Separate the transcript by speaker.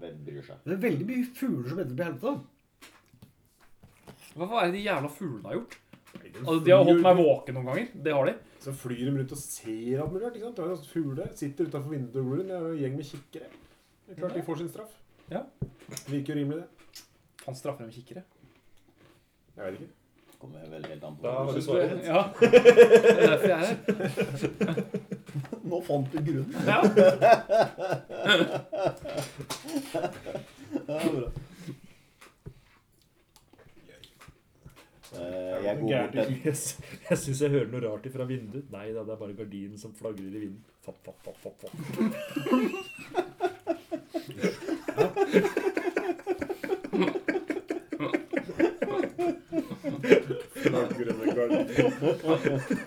Speaker 1: bryr seg.
Speaker 2: Det er veldig mye fugler som endte opp i helvete.
Speaker 3: Hva er det de jævla fuglene har gjort?
Speaker 4: Nei,
Speaker 3: Altså, de har holdt meg våken noen ganger. Det har de.
Speaker 4: Så flyr de rundt og ser alt mulig rart. ikke sant? Det er jo Fugler sitter utafor vinduet og glor. Det er jo en gjeng med kikkere. Det er klart de får sin straff.
Speaker 3: Ja.
Speaker 4: Det virker jo rimelig, det.
Speaker 3: Faen, straffer de kikkere?
Speaker 4: Jeg vet ikke.
Speaker 1: Kommer vel helt an på
Speaker 5: Da har du
Speaker 1: svarer.
Speaker 5: svaret.
Speaker 3: Ja. Det er derfor jeg er her.
Speaker 1: Nå fant du grunnen.
Speaker 3: Ja.
Speaker 1: Ja, det er bra. Eh, Jeg går bort til
Speaker 5: Jeg syns jeg hører noe rart fra vinduet. Nei da, det er bare gardinen som flagrer i vinden. Fapp, fapp, fapp, fapp, fapp.
Speaker 4: Grønne gardiner.